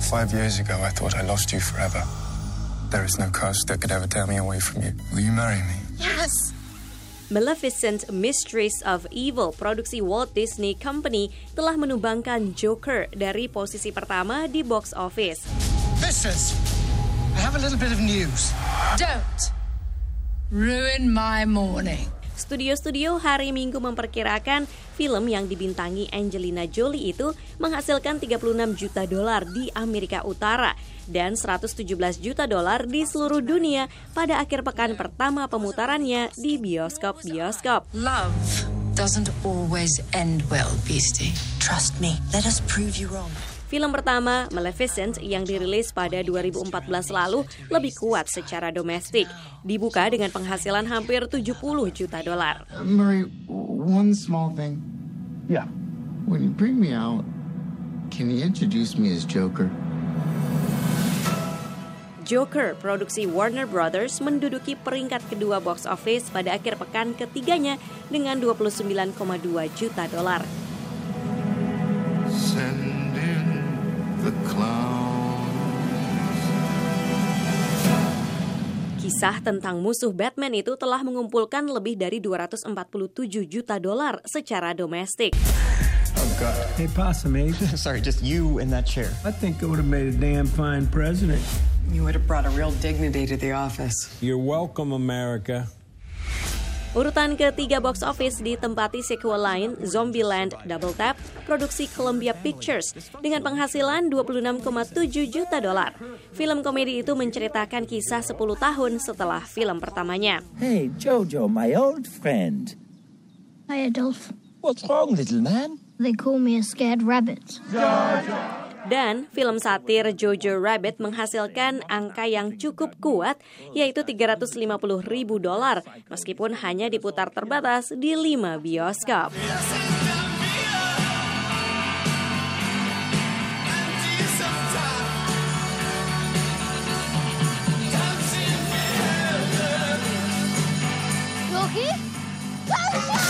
Five years ago, I thought I lost you forever. There is no curse that could ever tear me away from you. Will you marry me? Yes. Maleficent Mistress of Evil produksi Walt Disney Company telah menumbangkan Joker dari posisi pertama di box office. Mistress, I have a little bit of news. Don't ruin my morning. Studio-studio hari Minggu memperkirakan film yang dibintangi Angelina Jolie itu menghasilkan 36 juta dolar di Amerika Utara dan 117 juta dolar di seluruh dunia pada akhir pekan pertama pemutarannya di bioskop-bioskop. Love doesn't always end well, Beastie. Trust me, let us prove you wrong. Film pertama, Maleficent, yang dirilis pada 2014 lalu lebih kuat secara domestik. Dibuka dengan penghasilan hampir 70 juta dolar. Uh, Murray, one small thing. Yeah. When you bring me out, can you introduce me as Joker? Joker produksi Warner Brothers menduduki peringkat kedua box office pada akhir pekan ketiganya dengan 29,2 juta dolar. Send in the clowns. Kisah tentang musuh Batman itu telah mengumpulkan lebih dari 247 juta dolar secara domestik. Oh, God. Hey, Possum Ape, Sorry, just you in that chair. I think I would have made a damn fine president. You would have brought a real dignity to the office. You're welcome, America. Urutan ketiga box office ditempati sequel lain Zombieland Double Tap produksi Columbia Pictures dengan penghasilan 26,7 juta dolar. Film komedi itu menceritakan kisah 10 tahun setelah film pertamanya. Hey, Jojo, my old friend. Hi, Adolf. What's wrong, little man? They call me a scared rabbit. Dan film satir Jojo Rabbit menghasilkan angka yang cukup kuat, yaitu 350 ribu dolar, meskipun hanya diputar terbatas di 5 bioskop. Wilkie?